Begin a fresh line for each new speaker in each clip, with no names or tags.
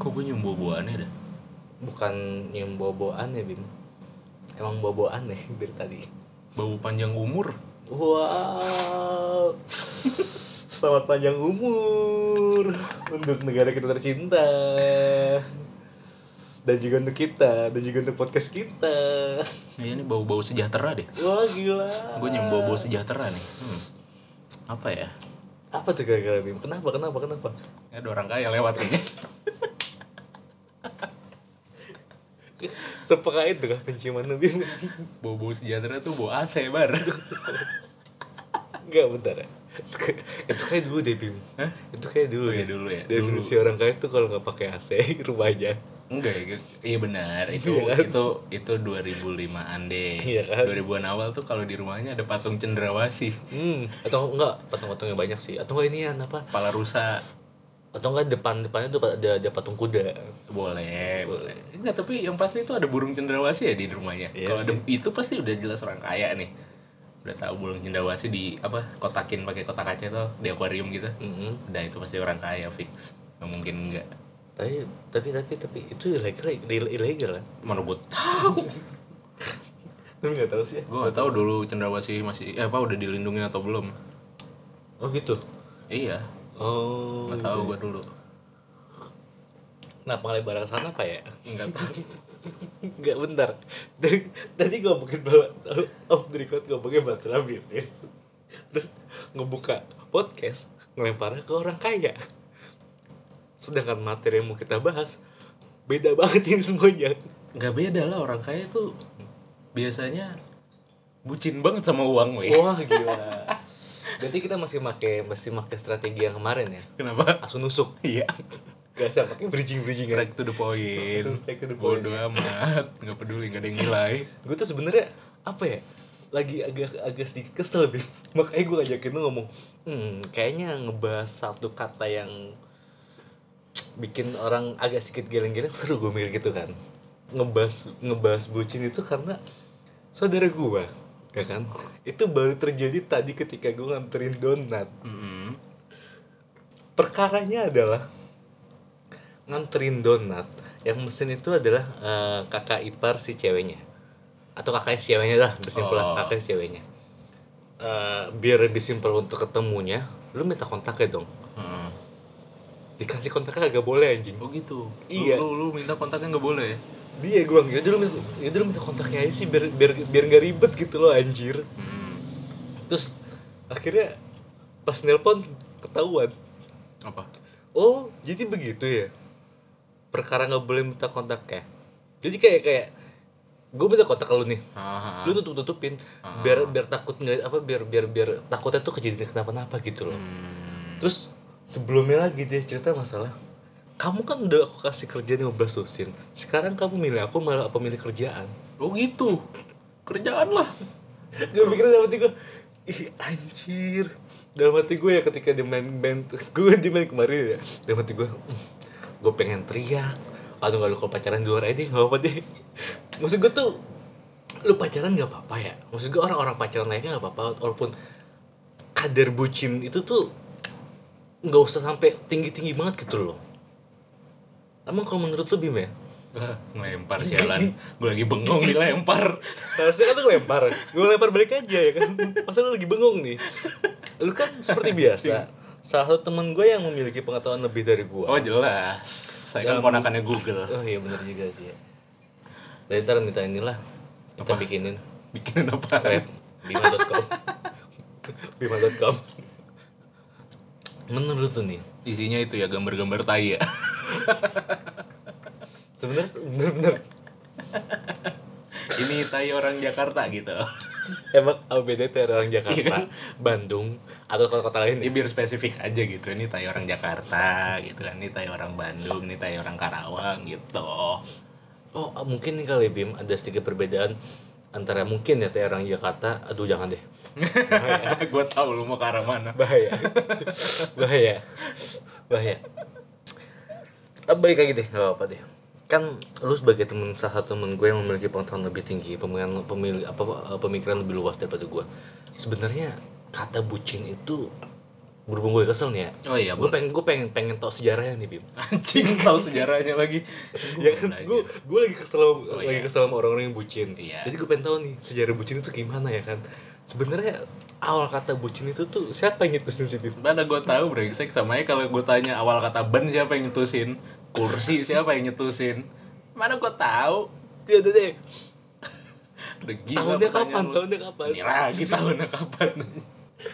kok gue nyium boboannya dah
Bukan nyium boboan ya Bim Emang boboan ya dari tadi
bau panjang umur
Wow Selamat panjang umur Untuk negara kita tercinta Dan juga untuk kita Dan juga untuk podcast kita
kayaknya ini Iya bau-bau sejahtera deh
Wah gila
gue nyium bau-bau sejahtera nih hmm. apa ya
Apa tuh gara-gara Bim? Kenapa, kenapa, kenapa?
ya ada orang kaya lewat nih
Sepeka itu kah kan penciuman Bim?
bau-bau sejahtera tuh bau AC bar
Enggak bentar ya. Sek- Itu kayak dulu deh Bim.
Hah?
Itu kayak dulu
Oh iya,
ya.
dulu ya,
Definisi orang kaya itu kalau nggak pakai AC rumahnya.
enggak ya Ge- iya benar itu
Iya kan?
itu itu 2005an deh
Iya kan?
2000an awal tuh kalau di rumahnya ada patung cendrawasih
Hmm, atau enggak patung-patungnya banyak sih. Atau enggak ini apa?
kepala rusa
Atau enggak depan-depannya tuh ada ada patung kuda.
boleh boleh enggak tapi yang pasti itu ada burung cendrawasih ya di rumahnya
Iya
kalau ada itu pasti udah jelas orang kaya nih udah tahu burung cendrawasih di apa kotakin pakai kotak kaca tuh di akuarium gitu
Mm-mm.
udah itu pasti orang kaya fix nggak mungkin enggak
Tapi tapi tapi tapi itu ilegal ilegal kan?
mana gue tahu
Tapi enggak tahu sih. ya.
gue nggak tahu dulu cendrawasih masih eh, apa udah dilindungin atau belum
Oh gitu.
iya
Oh.
nggak tahu gue dulu
Nah, pengelebaran ke sana apa ya?
nggak tahu
Enggak bentar. Tadi- Tadi gue mungkin bawa off the record ngomongin masalah bisnis. ya, Terus ngebuka podcast ngelemparnya ke orang kaya. Sedangkan materi yang mau kita bahas beda banget ini semuanya.
nggak beda lah orang kaya tuh biasanya bucin banget sama uang weh
Wah, gila. Berarti kita masih make masih make strategi yang kemarin ya.
kenapa
Langsung nusuk.
iya
Gak usah pakai bridging-bridging
Strike to the point
Langsung strike to the point.
Bodoh amat Gak peduli gak ada yang nilai
gue tuh sebenarnya apa ya lagi agak agak sedikit kesel Bim. makanya gue ngajakin lu ngomong hmm kayaknya ngebahas satu kata yang bikin orang agak sedikit geleng-geleng seru gue mikir gitu kan ngebahas ngebahas bucin itu karena saudara gue ya kan itu baru terjadi tadi ketika gue nganterin donat
Mm-mm.
perkaranya adalah nganterin donat yang mesin itu adalah eh, kakak ipar si ceweknya atau kakaknya si ceweknya lah bersimpel lah,
Oh.
kakaknya si ceweknya Eh, biar lebih simpel untuk ketemunya lu minta kontaknya dong
Mm.
dikasih kontaknya agak boleh anjing
Oh gitu Lu-
Iya.
lu, lu, minta kontaknya gak boleh ya
dia gue bilang yaudah lu minta, yaudah lu minta kontaknya aja sih biar biar biar nggak ribet gitu loh anjir
Mm.
terus akhirnya pas nelpon ketahuan
Apa?
Oh, jadi begitu ya? Perkara nggak boleh minta kontak ya? Jadi kayak kayak gue minta kontak ke lu nih,
Ah,
lu tutup tutupin biar biar takut nggak apa biar biar biar takutnya tuh kejadian kenapa-napa gitu loh.
mm.
Terus sebelumnya lagi dia cerita masalah kamu kan udah aku kasih kerjaan 15 lusin sekarang kamu milih aku malah apa milih kerjaan
Oh gitu Kerjaan lah
gue pikir dalam hati gue ih anjir dalam hati gue ya ketika dia main band gue di main kemarin ya dalam hati gue "Mm, gue pengen teriak atau nggak lu kalau pacaran di luar aja deh nggak apa-apa deh maksud gue tuh lu pacaran nggak apa-apa ya maksud gue orang-orang pacaran lainnya nggak apa-apa walaupun kadar bucin itu tuh nggak usah sampai tinggi-tinggi banget gitu loh emang kalau menurut lu Bim ya
Ah, Ngelempar sialan Gue lagi bengong dilempar
Harusnya kan lu lempar Gue lempar balik aja ya kan Masa lu lagi bengong nih Lu kan seperti biasa Salah satu temen gue yang memiliki pengetahuan lebih dari gue
Oh jelas Saya kan
Jangan-
ponakannya Google
Oh iya bener juga sih ya Dan ntar minta inilah Kita
Apa?
bikinin
Bikin apa?
web Bima.com Bima.com Menurut tuh nih
Isinya itu ya gambar-gambar tai ya
sebenarnya bener-bener
Ini tai orang Jakarta gitu
Emang ABD itu ada orang
Iya kan?
Jakarta, Bandung, atau kota-kota lain
Ini
ya?
biar spesifik aja gitu. Ini tai orang Jakarta gitu kan. Ini tai orang Bandung, ini tai orang Karawang gitu.
Oh, mungkin nih kali Bim ada sedikit perbedaan antara mungkin ya teh orang Jakarta. Aduh, jangan deh.
Gue tahu lu mau ke arah mana.
Bahaya. Bahaya. Bahaya. Ah, Baik lagi deh, gak apa-apa deh. Kan lu sebagai temen salah satu temen gue yang memiliki pengetahuan lebih tinggi, pemikiran, pemil- apa, eh, pemikiran lebih luas daripada gue. Sebenarnya kata bucin itu berhubung gue kesel nih ya
Oh iya,
gue
boleh.
pengen gue pengen pengen tau sejarahnya nih bim
Anjing tahu sejarahnya lagi.
ya kan
Belajar.
gue gue lagi kesel sama-
Oh,
lagi
iya.
kesel sama orang-orang yang bucin
Iya.
jadi gue pengen tahu nih sejarah bucin itu gimana ya kan sebenarnya awal kata bucin itu tuh siapa yang nyetusin sih bim
Mana gue tahu brengsek samanya kalau gue tanya awal kata ban siapa yang nyetusin, kursi siapa yang nyetusin. Mana gue tahu.
Iya, iya, iya.
Udah gila
tahunnya
pertanyaan
kapan
lu.
tahunnya kapan
Ini lagi tahunnya kapan.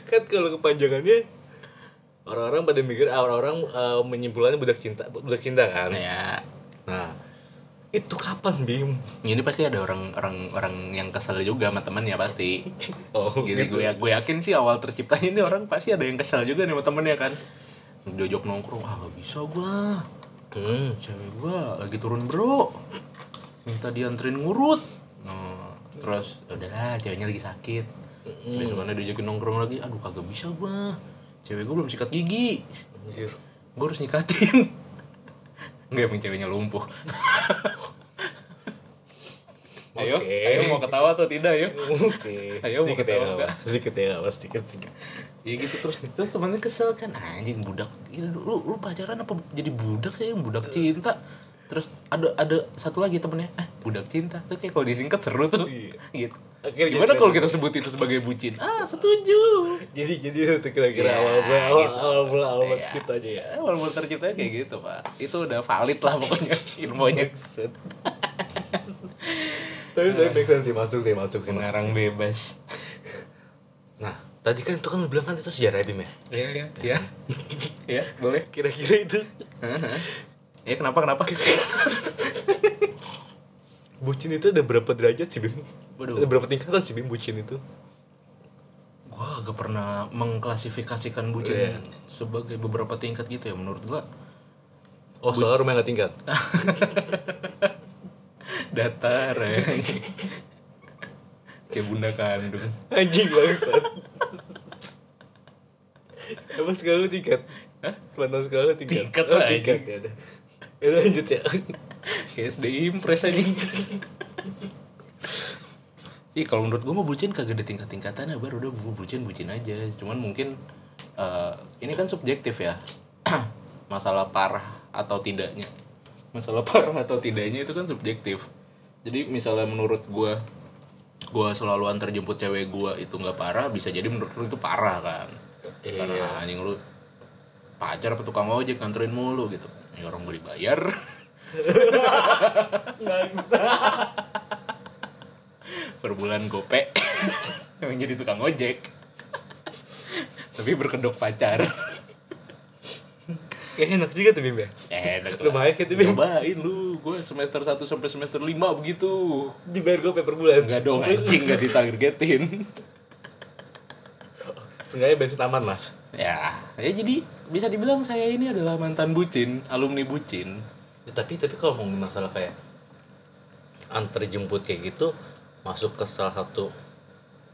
kan kalau kepanjangannya orang-orang pada mikir ah, orang-orang eh, menyimpulannya budak cinta budak cinta kan
Nah, ya,
nah itu kapan bim
ini pasti ada orang orang orang yang kesel juga sama temennya pasti.
oh
Jadi gue gue ya-, yakin sih awal terciptanya ini orang pasti ada yang kesel juga nih sama temennya kan. Diajak nongkrong, ah gak bisa gue.
Hmm.
cewek gua lagi turun bro minta dianterin ngurut Nah, terus udah lah ceweknya lagi sakit terus mana diajakin nongkrong lagi aduh kagak bisa gua cewek gua belum sikat gigi
Anjir.
gua harus nyikatin nggak emang ceweknya lumpuh ayo
Oke.
ayo mau ketawa atau tidak ayo
Oke,
Ayo, mau
sedikit
ketawa
ya,
nggak?
sedikit ya, Mas, sedikit, sedikit.
ya gitu terus terus temannya kesel kan anjing budak gila, lu, lu lu pacaran apa jadi budak sih budak cinta terus ada ada satu lagi temennya eh budak cinta tuh kayak kalau disingkat seru tuh
Iya.
gitu
Akhirnya
gimana
jadi-
kalau kita sebut itu sebagai bucin ah setuju
Jadi, jadi itu kira-kira
Ya,
awal mula, awal,
gitu.
awal mula, awal mula
Ya.
script aja ya.
ya, walaupun terciptanya kayak gitu pak itu udah valid lah pokoknya ilmunya
Set. tapi tapi make sense sih, masuk sih, masuk sih. masuk.
mengarang bebas
Nah, tadi kan itu kan lu bilang kan itu sejarah Bim ya.
ya ya ya ya boleh
Kira-kira itu
Hah? ya kenapa kenapa
bucin itu ada berapa derajat sih Bim?
Waduh.
Ada berapa tingkatan sih Bim bucin itu?
gua agak pernah mengklasifikasikan bucin
Iya.
sebagai beberapa tingkat gitu ya menurut gua
Oh, soalnya rumah nggak tingkat.
datar ya kayak bunda kandung
Anjing bangsat. Apa sekolah lu tingkat? Hah? Mantan sekolah lu tingkat?
Tingkat
oh,
lah,
tingkat ya. udah. Ya udah, lanjut ya.
kayak SD impress aja Ih kalau menurut gue mau bucin kagak ada tingkat-tingkatan ya baru udah bu- bucin bucin aja cuman mungkin eh, ini kan subjektif ya masalah parah atau tidaknya masalah parah atau tidaknya itu kan subjektif jadi misalnya menurut gue gue selalu antar jemput cewek gue itu nggak parah bisa jadi menurut lu itu parah kan karena anjing lu pacar apa tukang ojek nganterin mulu gitu ya orang gue dibayar per bulan gope yang jadi tukang ojek tapi berkedok pacar
Kayaknya enak juga tuh Bim ya.
Eh, enak
Lumayan gitu, Bim.
cobain lu gue semester 1 sampai semester 5 begitu
Dibayar gue per bulan.
enggak dong anjing enggak ditargetin
Seenggaknya bensin aman lah.
ya ya jadi bisa dibilang saya ini adalah mantan bucin alumni bucin
Ya, tapi tapi kalau ngomongin masalah kayak antar jemput kayak gitu masuk ke salah satu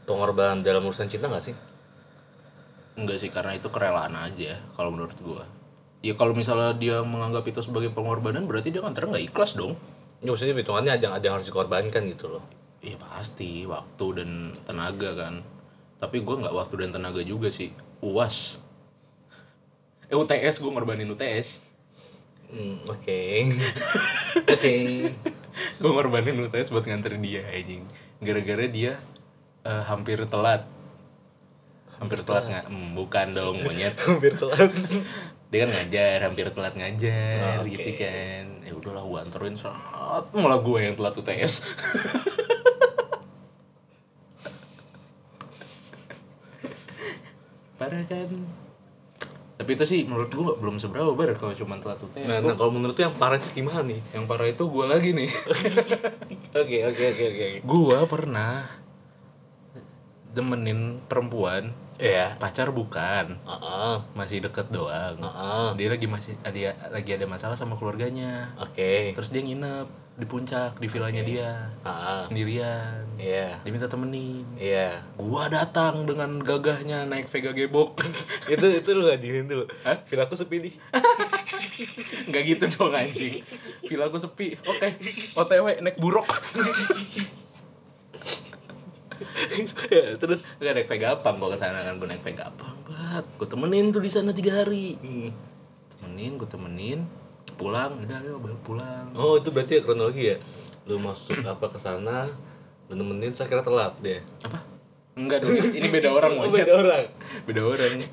pengorbanan dalam urusan cinta nggak sih?
Enggak sih karena itu kerelaan aja kalau menurut gua ya kalau misalnya dia menganggap itu sebagai pengorbanan berarti dia kan nggak ikhlas dong
Ya, maksudnya hitungannya ada, ada yang harus dikorbankan gitu loh.
Iya pasti waktu dan tenaga kan. Tapi gue nggak waktu dan tenaga juga sih. Uas. Eh UTS gue ngorbanin UTS.
Hmm, Oke. Oke.
gue ngorbanin UTS buat nganter dia anjing. Gara-gara dia eh, hampir telat. Hampir telat nggak? Hmm, bukan dong monyet.
Hampir telat.
Dia kan ngajar, hampir telat ngajar
Oke.
gitu kan. Ya udahlah gue anterin saat malah gue yang telat UTS. Parah kan. Tapi itu sih menurut gue belum seberapa bar kalau cuma telat UTS.
Nah, nah, kalau menurut tuh yang parah itu gimana nih?
Yang parah itu gue lagi nih.
Oke oke oke oke. oke.
gue pernah demenin perempuan
Iya.
pacar bukan
Heeh.
masih deket doang
Heeh.
dia lagi masih dia lagi ada masalah sama keluarganya
Oke.
terus dia nginep di puncak di vilanya dia
Heeh.
sendirian
Iya.
dia minta temenin
Iya.
gua datang dengan gagahnya naik Vega gebok
Itu itu lu gak dingin dulu. Villa aku sepi nih.
nggak gitu dong anjing villa aku sepi oke otw naik buruk
ya, terus
Gue naik Vegapunk, gue kesana kan gue naik Vegapunk banget. Gue temenin tuh di sana tiga hari.
Hmm.
Temenin, gue temenin. Pulang, udah ayo balik pulang.
oh itu berarti ya kronologi ya lu masuk apa ke sana lu nemenin saya kira telat deh
Apa? Enggak dong, ini beda orang
Oh,
monyet.
beda orang
Beda orang.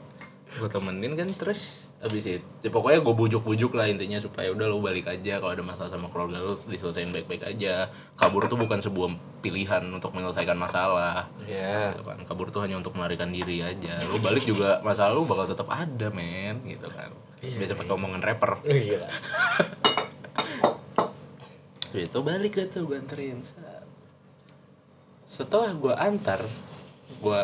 Gue temenin kan terus abis itu ya, pokoknya gue bujuk-bujuk lah intinya supaya udah lo balik aja kalau ada masalah sama keluarga lo diselesain baik-baik aja kabur tuh bukan sebuah pilihan untuk menyelesaikan masalah
ya
gitu kan kabur tuh hanya untuk melarikan diri aja lu balik juga masalah lu bakal tetap ada men gitu kan biasa pakai omongan rapper
gila
Habis itu Gitu, balik deh tuh gue anterin Set. setelah gue antar gue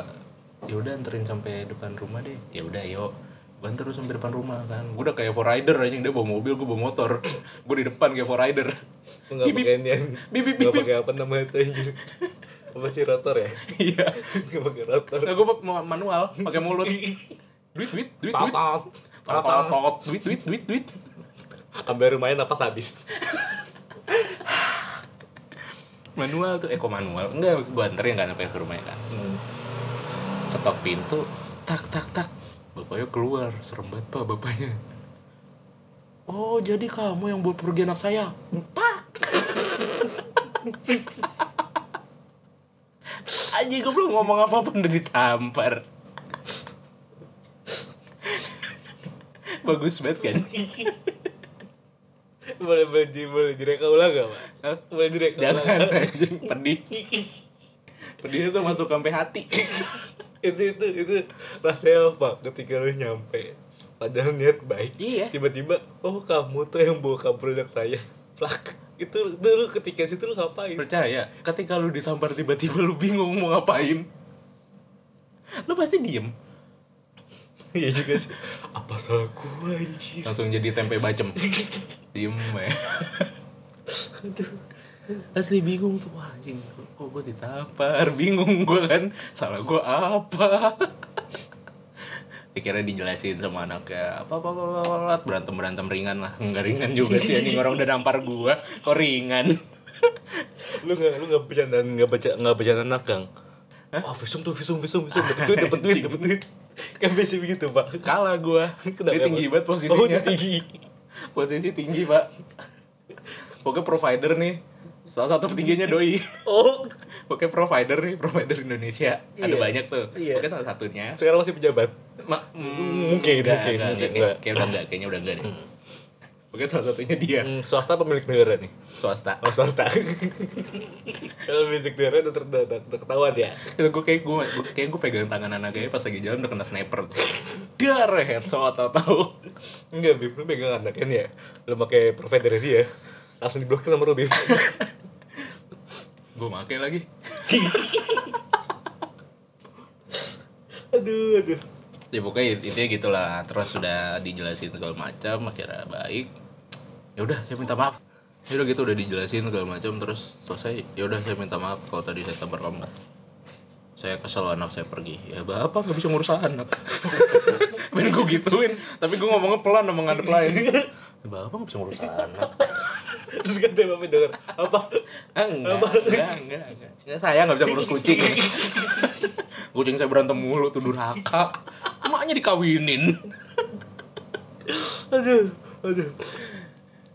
ya udah anterin sampai depan rumah deh ya udah yuk gue anter terus sampai depan rumah kan gue udah kayak 4 rider aja dia bawa mobil gue bawa motor gue di depan kayak 4 rider
Lu nggak pakai ini yang
Bip, bip,
nggak pakai apa namanya itu anjir apa sih rotor ya
iya
nggak pakai rotor
nah, gue manual pakai mulut duit duit duit duit
tatat
Tot, tot, tot, duit duit duit duit
sampai rumahnya napas habis
manual tuh eko manual enggak gua anterin kan sampai ke rumahnya kan ketok pintu tak tak tak bapaknya keluar serem banget pak bapaknya oh jadi kamu yang buat pergi anak saya pak aja gue belum ngomong apa pun udah ditampar bagus banget kan
boleh boleh di boleh direka ulang gak pak
Hah?
boleh direka ulang
jangan anjing pedih pedihnya tuh masuk sampai hati
itu itu itu rasanya apa ketika lu nyampe padahal niat baik
Iya.
tiba-tiba oh kamu tuh yang bawa kabur anak saya plak itu itu lu ketika situ lu ngapain
percaya ketika lu ditampar tiba-tiba lu bingung mau ngapain lu pasti diem
iya juga sih apa salah gua anjir
langsung jadi tempe bacem diem ya
Aduh.
asli bingung tuh wah anjing kok gue ditampar bingung gue kan salah gue apa akhirnya dijelasin sama anaknya apa apa apa, apa, apa, apa. berantem berantem ringan lah nggak ringan juga sih anjing orang udah nampar gue kok ringan
lu nggak lu nggak bercandaan nggak baca nggak bercandaan nakang wah "Oh, visum tuh visum visum visum dapat duit dapat duit dapat duit kan biasa begitu pak
kalah gue dia
Kenapa?
tinggi banget posisinya
oh dia tinggi
posisi tinggi pak pokoknya provider nih salah satu tingginya doi
oh
pokoknya provider nih provider Indonesia ada
Iya.
banyak tuh
Iya.
pokoknya salah satunya
sekarang masih pejabat
Ma- mm,
Mungkin,
enggak,
mungkin,
enggak,
mungkin,
kayak-
enggak.
kayak udah enggak kayaknya udah enggak deh pokoknya salah satunya dia
Hmm, swasta pemilik negara nih
swasta
Oh swasta Kalau milik daerah udah ter- udah- udah ketahuan ya
itu gue kayak gue kayak gue pegang tangan anaknya pas lagi jalan udah kena sniper dar headshot atau tahu
Enggak Bib, lu pegang anaknya nih ya Lu pake provider dia Langsung diblokir nomor lu Bib
gue make lagi
Aduh, aduh
ya pokoknya intinya gitulah terus sudah dijelasin segala macam akhirnya baik ya udah saya minta maaf ya udah gitu udah dijelasin segala macam terus selesai ya udah saya minta maaf kalau tadi saya tampar kamu saya kesel anak saya pergi ya bapak nggak bisa ngurus anak main gue gituin tapi gue ngomongnya pelan sama ngadep lain "Ya, bapak nggak bisa ngurus anak
Terus kan kata bapak denger Apa?
Ah, enggak, enggak, enggak, enggak. Enggak, saya nggak bisa ngurus kucing kucing saya berantem mulu tuh durhaka emaknya dikawinin
Aduh, aduh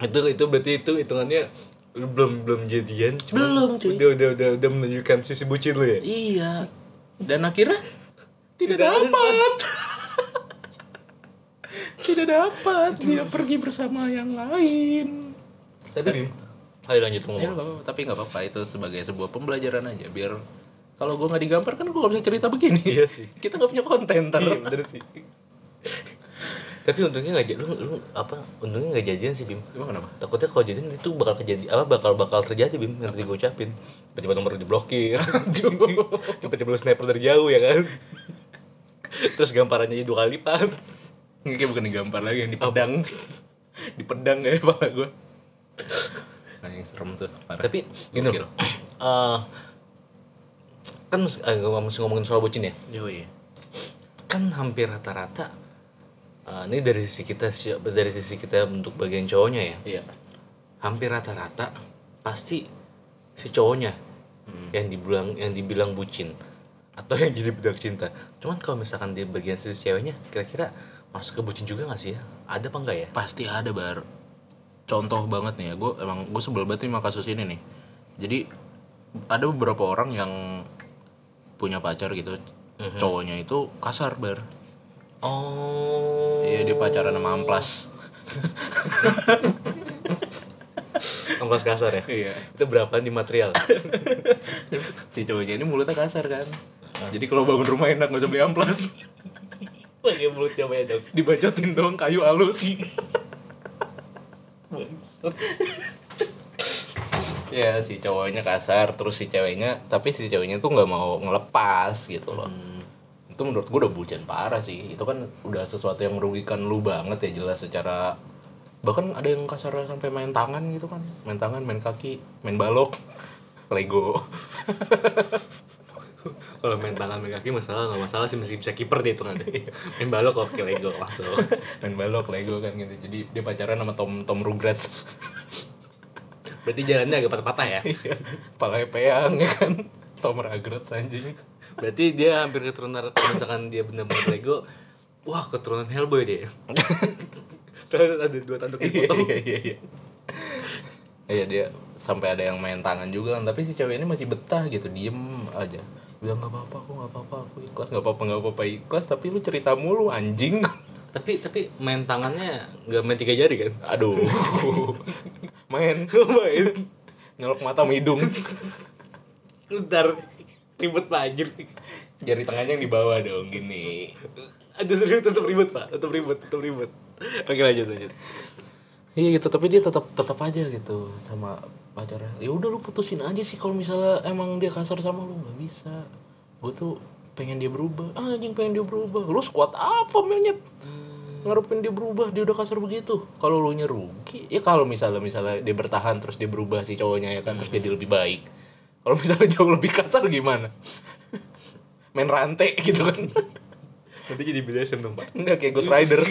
Itu, itu berarti itu hitungannya Lu belum, belum jadian cuma
Belum, cuy.
Udah, udah, udah, udah menunjukkan sisi bucin lu ya
Iya. Dan akhirnya tidak
Tidak
dapat. tidak dapat. Dia pergi bersama yang lain.
Tapi Bib Ayo lanjut
Ya, nggak apa-apa.
ngomong
tapi nggak apa-apa itu sebagai sebuah pembelajaran aja biar kalau gue nggak digambar kan gue nggak bisa cerita begini.
Iya sih.
Kita nggak punya konten ntar.
Iya bener sih Tapi untungnya gak jadi, lu, lu apa, untungnya gak jadian sih Bim
Emang kenapa?
takutnya kalau jadian itu bakal kejadi apa bakal bakal terjadi bim nanti gue ucapin tiba-tiba nomor lu diblokir tiba-tiba lu sniper dari jauh ya kan terus gamparannya jadi dua kali lipat
Ini kayak bukan digambar lagi yang ya, di pedang. di pedang kayak pala gue. Nah, yang serem tuh. Parah.
tapi gini
Gokil.
loh eh, kan eh, gua mesti ngomongin soal bucin ya
Yoi.
kan hampir rata-rata eh, ini dari sisi kita si- dari sisi kita untuk bagian cowoknya ya
Iya.
hampir rata-rata pasti si cowoknya yang dibilang yang dibilang bucin atau yang jadi budak cinta cuman kalau misalkan di bagian sisi ceweknya kira-kira masuk ke bucin juga nggak sih ya ada apa enggak ya
pasti ada bar contoh banget nih ya gue emang gue sebel banget nih sama kasus ini nih jadi ada beberapa orang yang punya pacar gitu cowoknya itu kasar bar
oh
iya dia pacaran sama amplas
ongkos kasar ya
iya
itu berapa di material
si cowoknya ini mulutnya kasar kan jadi kalau bangun rumah enak nggak usah beli amplas
Wah, dia mulutnya banyak dong
dibacotin dong kayu halus ya si cowoknya kasar terus si ceweknya tapi si ceweknya tuh nggak mau ngelepas gitu loh
Hmm.
itu menurut gue udah bucin parah sih itu kan udah sesuatu yang merugikan lu banget ya jelas secara bahkan ada yang kasar sampai main tangan gitu kan main tangan main kaki main balok lego
kalau main tangan main kaki masalah nggak masalah sih masih bisa kiper deh itu nanti main balok oke lego langsung
main balok lego kan gitu jadi dia pacaran sama Tom Tom Rugrats
berarti jalannya agak patah-patah ya
kepala peang ya kan Tom Rugrats anjing
berarti dia hampir keturunan kalau misalkan dia benar-benar lego wah keturunan Hellboy dia soalnya ada dua tanduk
iya
dipotong
iya iya iya Iya, dia sampai ada yang main tangan juga kan tapi si cewek ini masih betah gitu diem aja bilang nggak apa-apa aku nggak apa-apa aku ikhlas nggak apa-apa nggak apa-apa ikhlas tapi lu cerita mulu anjing
tapi tapi main tangannya nggak main tiga jari kan
aduh main
main
nyelok mata sama hidung
ntar ribet pak anjir
jari tangannya yang di bawah dong gini
aduh serius tetap ribet pak tetap ribet tetap ribet oke lanjut lanjut
iya gitu tapi dia tetap tetap aja gitu sama pacarnya ya udah lu putusin aja sih kalau misalnya emang dia kasar sama lu nggak bisa gue tuh pengen dia berubah ah, anjing pengen dia berubah lu squat apa monyet ngarepin dia berubah dia udah kasar begitu kalau lu nyerugi ya kalau misalnya misalnya dia bertahan terus dia berubah si cowoknya ya kan terus jadi lebih baik kalau misalnya jauh lebih kasar gimana main rantai gitu kan
nanti jadi BDSM dong pak
Enggak kayak Ghost Rider.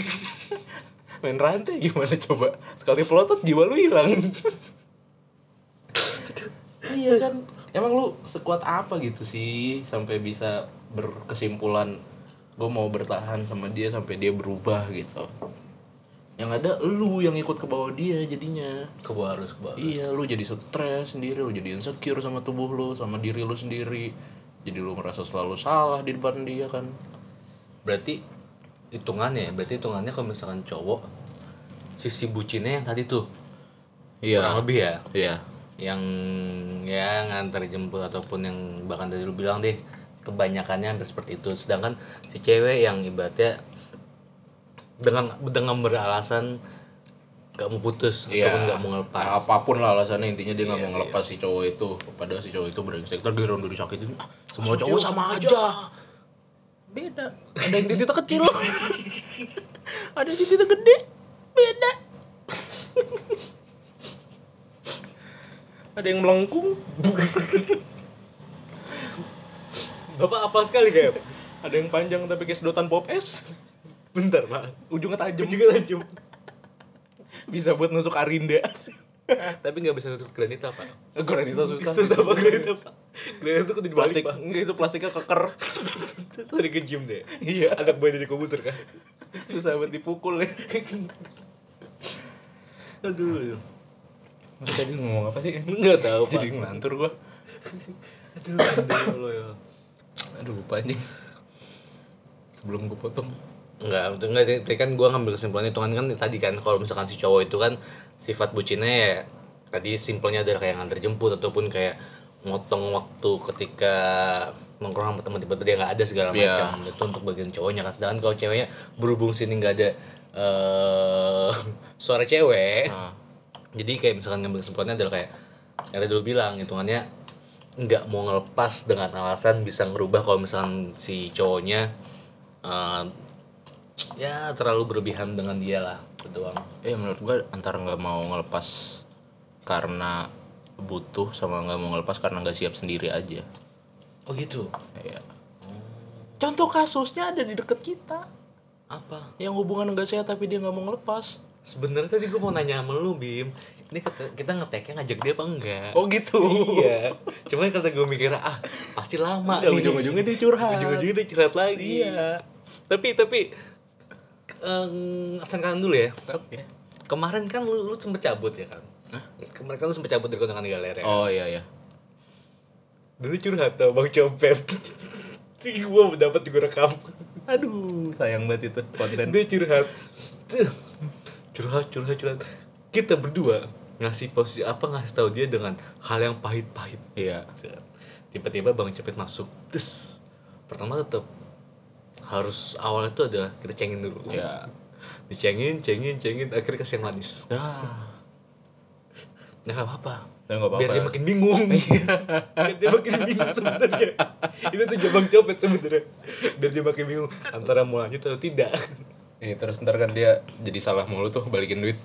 Main rantai gimana coba? Sekali pelotot jiwa lu hilang. iya kan. Emang lu sekuat apa gitu sih sampai bisa berkesimpulan gue mau bertahan sama dia sampai dia berubah gitu. Yang ada lu yang ikut ke bawah dia jadinya.
kebo harus kebo
Iya, lu jadi stres sendiri, lu jadi insecure sama tubuh lu, sama diri lu sendiri. Jadi lu merasa selalu salah di depan dia kan.
berarti hitungannya ya, berarti hitungannya kalau misalkan cowok sisi bucinnya yang tadi tuh kurang lebih ya
Iya.
yang ya ngantar jemput ataupun yang bahkan tadi lu bilang deh kebanyakannya hampir seperti itu sedangkan si cewek yang ibaratnya dengan dengan beralasan gak mau putus ataupun gak mau ngelepas
Iya. Ya, Apapun lah alasannya intinya dia nggak mau ngelepas si cowok itu. Padahal si cowok itu brengsek. Ntar giliran udah disakitin, ah, semua cowok sama aja. Beda. Ada yang titiknya kecil. Ada yang titiknya gede. Beda. Ada yang melengkung.
bapak apa sekali kayak
Ada yang panjang tapi kayak sedotan pop es.
bentar pak
Ujungnya tajam.
juga lanjut
Bisa buat nusuk arinda.
tapi nggak bisa nutup granita pak
Granita susah.
terus apa granita pak granita tuh kudu dibalik
Plastik,
pak
enggak, itu plastiknya keker.
terus lari ke gym deh
Iya.
anak bayi dari komputer kan
susah banget dipukul ya
aduh ya.
tadi ngomong apa sih
nggak tahu pak
jadi ngelantur gua
aduh aduh lo ya
aduh lupa anjing sebelum gua potong
Enggak, itu enggak tadi kan gua ngambil kesimpulan hitungan kan tadi kan kalau misalkan si cowok itu kan sifat bucinnya ya tadi simpelnya adalah kayak nganter jemput ataupun kayak ngotong waktu ketika nongkrong sama teman tiba-tiba dia nggak ada segala
Iya.
macam itu untuk bagian cowoknya kan sedangkan kalau ceweknya berhubung sini nggak ada eh suara cewek jadi kayak misalkan ngambil kesimpulannya adalah kayak yang tadi dulu bilang hitungannya nggak mau ngelepas dengan alasan bisa ngerubah kalau misalkan si cowoknya eh, ya terlalu berlebihan dengan dia lah itu doang
eh menurut gua antara nggak mau ngelepas karena butuh sama nggak mau ngelepas karena nggak siap sendiri aja
oh gitu
ya. contoh kasusnya ada di deket kita
apa
yang hubungan nggak sehat tapi dia nggak mau ngelepas
sebenarnya tadi gue mau nanya sama lu bim ini kita, kita ngeteknya ngajak dia apa enggak
Oh gitu.
iya cuman kata gue mikir ah pasti lama
Udah, ujung-ujungnya dia curhat.
ujung-ujungnya dia curhat lagi
Iya.
tapi tapi em sengkan dulu ya
Oke.
kemarin kan lu, lu sempet cabut ya kan
Hah?
kemarin kan lu sempet cabut dari kondangan galer ya
Oh iya iya.
dulu curhat tuh bang copet sih gue dapat juga rekam
Aduh, sayang banget itu konten.
dia curhat Tuh. curhat curhat curhat kita berdua ngasih posisi apa ngasih tahu dia dengan hal yang pahit-pahit
Iya.
tiba-tiba bang copet masuk Tes. pertama tetap harus awalnya itu adalah kita cengin dulu
Iya.
dicengin cengin cengin akhirnya kasih yang manis Nah,
Ya.
nggak apa-apa
Ya, nggak apa-apa.
biar dia makin bingung biar dia makin bingung sebenarnya itu tuh bang copet sebenarnya biar dia makin bingung antara mau lanjut atau tidak
Nih, terus ntar kan dia jadi salah mulu tuh balikin duit.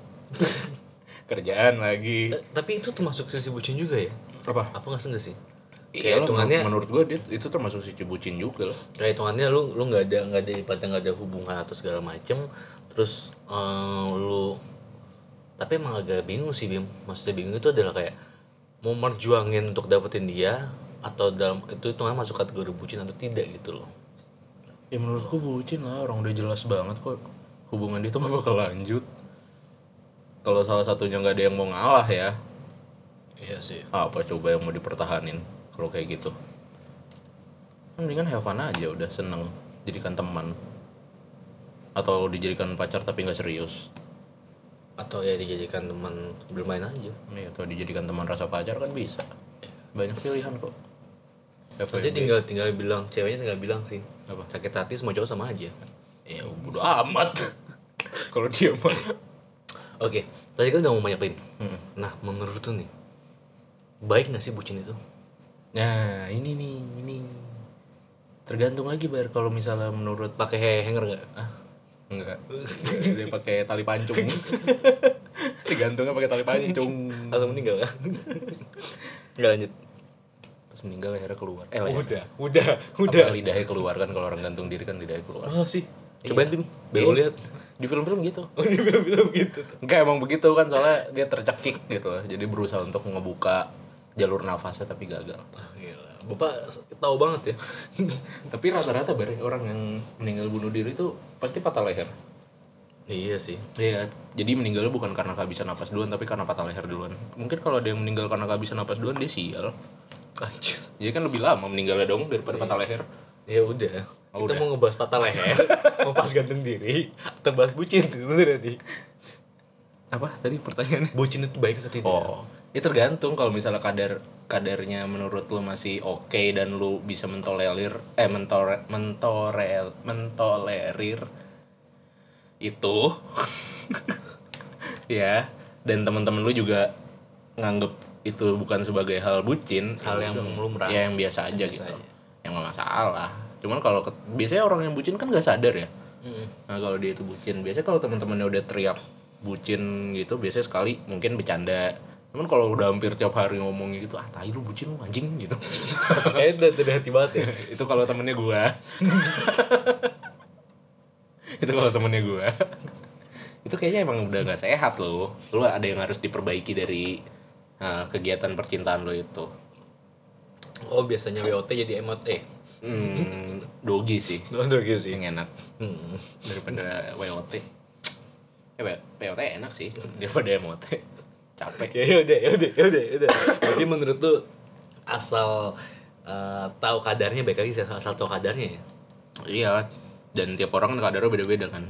Kerjaan lagi.
Ta- tapi itu termasuk sisi bucin juga ya
Apa?
apa nggak sih nggak sih
Iya,
kayak
hitungannya
hitungannya
menurut gua dia itu termasuk si cibucin juga lah.
kayak hitungannya lu lu nggak ada nggak ada ibaratnya nggak ada hubungan atau segala macem terus eh, lu tapi emang agak bingung sih bim maksudnya bingung itu adalah kayak mau merjuangin untuk dapetin dia atau dalam itu hitungannya masuk kategori bucin atau tidak gitu loh
Ya menurut gua bucin lah, orang udah jelas banget kok hubungan dia tuh gak bakal lanjut. Kalau salah satunya nggak ada yang mau ngalah ya,
iya sih
apa coba yang mau dipertahanin kalau kayak gitu? Mendingan have fun aja udah seneng jadikan teman atau dijadikan pacar tapi nggak serius.
atau ya dijadikan teman bermain aja
Nih Iya, atau dijadikan teman rasa pacar kan bisa. Banyak pilihan kok.
nanti tinggal tinggal bilang ceweknya tinggal bilang sih
Oh, Apa?
sakit hati semua cowok sama aja
Ya bodo amat. kalau dia mah.
oke tadi kan udah mau banyak Pin.
Mm-mm.
nah menurut tuh nih baik nggak sih bucin itu
Nah, ini nih, ini. Tergantung lagi bar kalau misalnya menurut
pakai he- hanger nggak
ah enggak. Dia pakai tali pancung. Tergantungnya pakai tali pancung.
langsung meninggal kan nggak lanjut
Terus meninggal lehernya keluar. Eh, leher.
udah udah
Udah. lidahnya keluar kan kalau orang gantung diri kan lidahnya keluar.
oh sih cobain Pin.
Iya.
bego lihat
Di film-film gitu.
oh di film-film gitu tuh
Enggak emang begitu kan soalnya dia tercekik gitu loh. Jadi berusaha untuk ngebuka jalur nafasnya tapi gagal.
Ah, gila. bapak tahu banget ya
Tapi rata-rata bare orang yang meninggal bunuh diri itu pasti patah leher.
iya sih
Iya, jadi meninggalnya bukan karena kehabisan napas duluan, tapi karena patah leher duluan. Mungkin kalau ada yang meninggal karena kehabisan napas duluan, dia sial.
anjir
Jadi kan lebih lama meninggalnya dong daripada patah leher.
Ya udah.
Oh, udah.
kita mau ngebahas patah leher, mau pas gantung diri, atau bahas bucin tuh sebenarnya nih.
Apa tadi pertanyaannya?
Bucin itu baik atau tidak?
Oh, ya tergantung kalau misalnya kadar kadarnya menurut lu masih oke dan lu bisa mentolerir eh mentore mentorel mentolerir itu ya dan teman-teman lu juga nganggep itu bukan sebagai hal bucin
Hal
ya
yang
udah.
lumrah.
ya yang biasa aja gitu yang gak masalah cuman kalau ke- biasanya orang yang bucin kan gak sadar ya
Mm.
Nah kalau dia itu bucin, biasanya kalau teman-temannya udah teriak bucin gitu, biasanya sekali mungkin bercanda. Cuman kalau udah hampir tiap hari ngomongnya gitu, ah tai lu bucin lu anjing gitu.
Kayaknya udah dari hati banget ya.
itu kalau temennya gua. itu kalau temennya gua. itu kayaknya emang udah nggak sehat loh. Lu ada yang harus diperbaiki dari uh, kegiatan percintaan lo itu.
Oh biasanya WOT jadi emot eh.
Hmm, dogi sih
Aduh gitu sih.
yang enak.
Hmm.
daripada WOT eh W- WOT enak sih daripada MOT capek
Ya ya udah ya udah ya udah ya udah. Jadi menurut tuh asal eh, tahu kadarnya baik lagi sih, asal tahu kadarnya ya.
iya dan tiap orang kan kadarnya beda-beda kan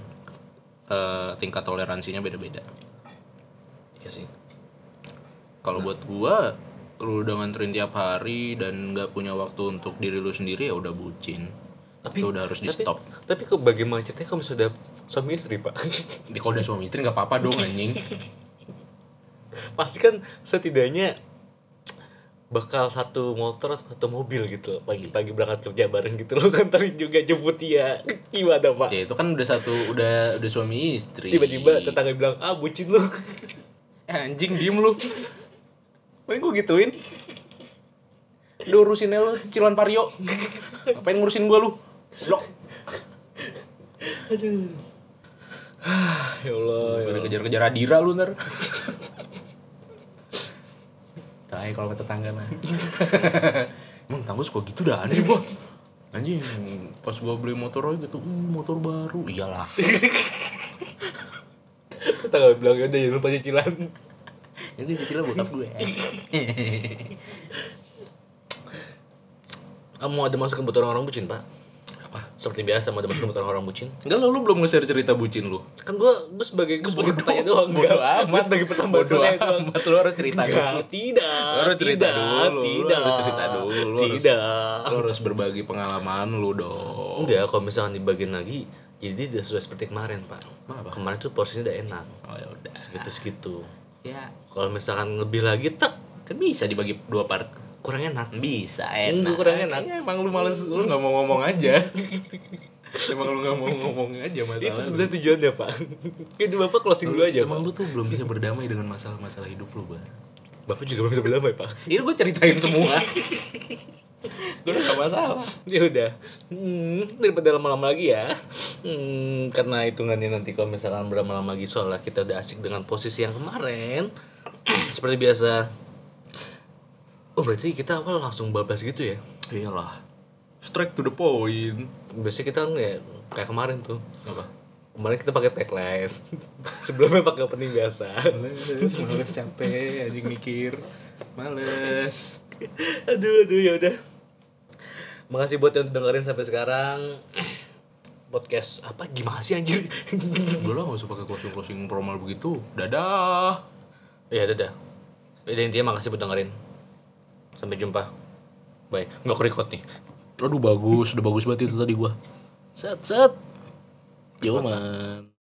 Eh, tingkat toleransinya beda-beda
Iya sih.
kalau buat gua lu udah nganterin tiap hari dan nggak punya waktu untuk diri lu sendiri ya udah bucin
Tapi
itu udah harus di
tapi-
stop
Tapi kok bagaimana ceritanya kalau misalnya udah suami istri, Pak?
di kalau udah suami istri nggak apa-apa dong anjing
pasti kan setidaknya bakal satu motor atau satu mobil gitu loh. pagi-pagi berangkat kerja bareng gitu loh kantorin juga jemput dia gimana pak
ya itu kan udah satu udah udah suami istri
tiba-tiba tetangga bilang ah bucin lu
Eh, anjing diem lu paling gue gituin udah urusin aja lu cicilan pario ngapain ngurusin gua lu blok
ya allah ya
udah
Allah. Ya
kejar-kejar Adira lu ntar Tai kalau sama tetangga mah. Emang tetangga suka gitu dah aneh gua. Anjing, pas gua beli motor lagi gitu, uh, motor baru. Iyalah.
Terus tanggal bilang "Ya aja jangan lupa cicilan.
Ini cicilnya bokap gue.
Kamu ada masuk ke butuh orang-orang bucin, Pak? Apa? Seperti biasa mau ada masuk ke butuh orang-orang bucin.
Enggak lo, lu belum nge-share cerita bucin lu.
Kan gue gue sebagai gue sebagai
Bodoh.
pertanyaan doang.
Bodoh
Bodoh
amat.
Gue sebagai pertanyaan
Bodoh
doang.
amat, lu harus cerita
Enggak,
dulu.
tidak.
Lu harus cerita
tidak,
dulu, lu
Tidak.
harus cerita dulu, lu harus-
Tidak.
Lu harus berbagi pengalaman lu dong.
Enggak, kalau misalkan dibagiin lagi, jadi tidak sesuai seperti kemarin, Pak.
Apa?
Kemarin tuh porsinya udah enak.
Oh ya udah.
Segitu-segitu.
Ya,
Kalau misalkan lebih lagi, tek,
kan bisa dibagi dua part.
kurang enak.
Bisa enak.
Enggak, kurang enak.
Ya, emang lu males, lu nggak mau ngomong aja. emang lu nggak mau ngomong aja masalah.
Itu
lu.
sebenarnya tujuannya, Pak. Itu Bapak closing dulu aja,
Emang
Pak.
lu tuh belum bisa berdamai dengan masalah-masalah hidup lu, Bar.
Bapak juga belum bisa berdamai, Pak.
Ini gue ceritain semua. gue gak masalah.
Ya udah. Hmm, daripada lama-lama lagi ya. Hmm, karena hitungannya nanti kalau misalkan berlama-lama lagi soalnya kita udah asik dengan posisi yang kemarin. seperti biasa. Oh, berarti kita awal langsung babas gitu ya.
Iyalah. Strike to the point.
Biasanya kita kan ya kayak kemarin tuh.
Apa?
Kemarin kita pakai tagline. Sebelumnya pakai opening biasa.
Males, males capek, anjing mikir. Males.
aduh, aduh ya udah. Makasih buat yang dengerin sampai sekarang. Podcast apa gimana sih anjir?
Gue lah gak usah pakai closing-closing formal begitu. Dadah.
Ya dadah. Udah intinya makasih buat dengerin. Sampai jumpa. Bye. Nggak record nih.
Aduh bagus, udah bagus banget itu tadi gua. Set set. Yo man.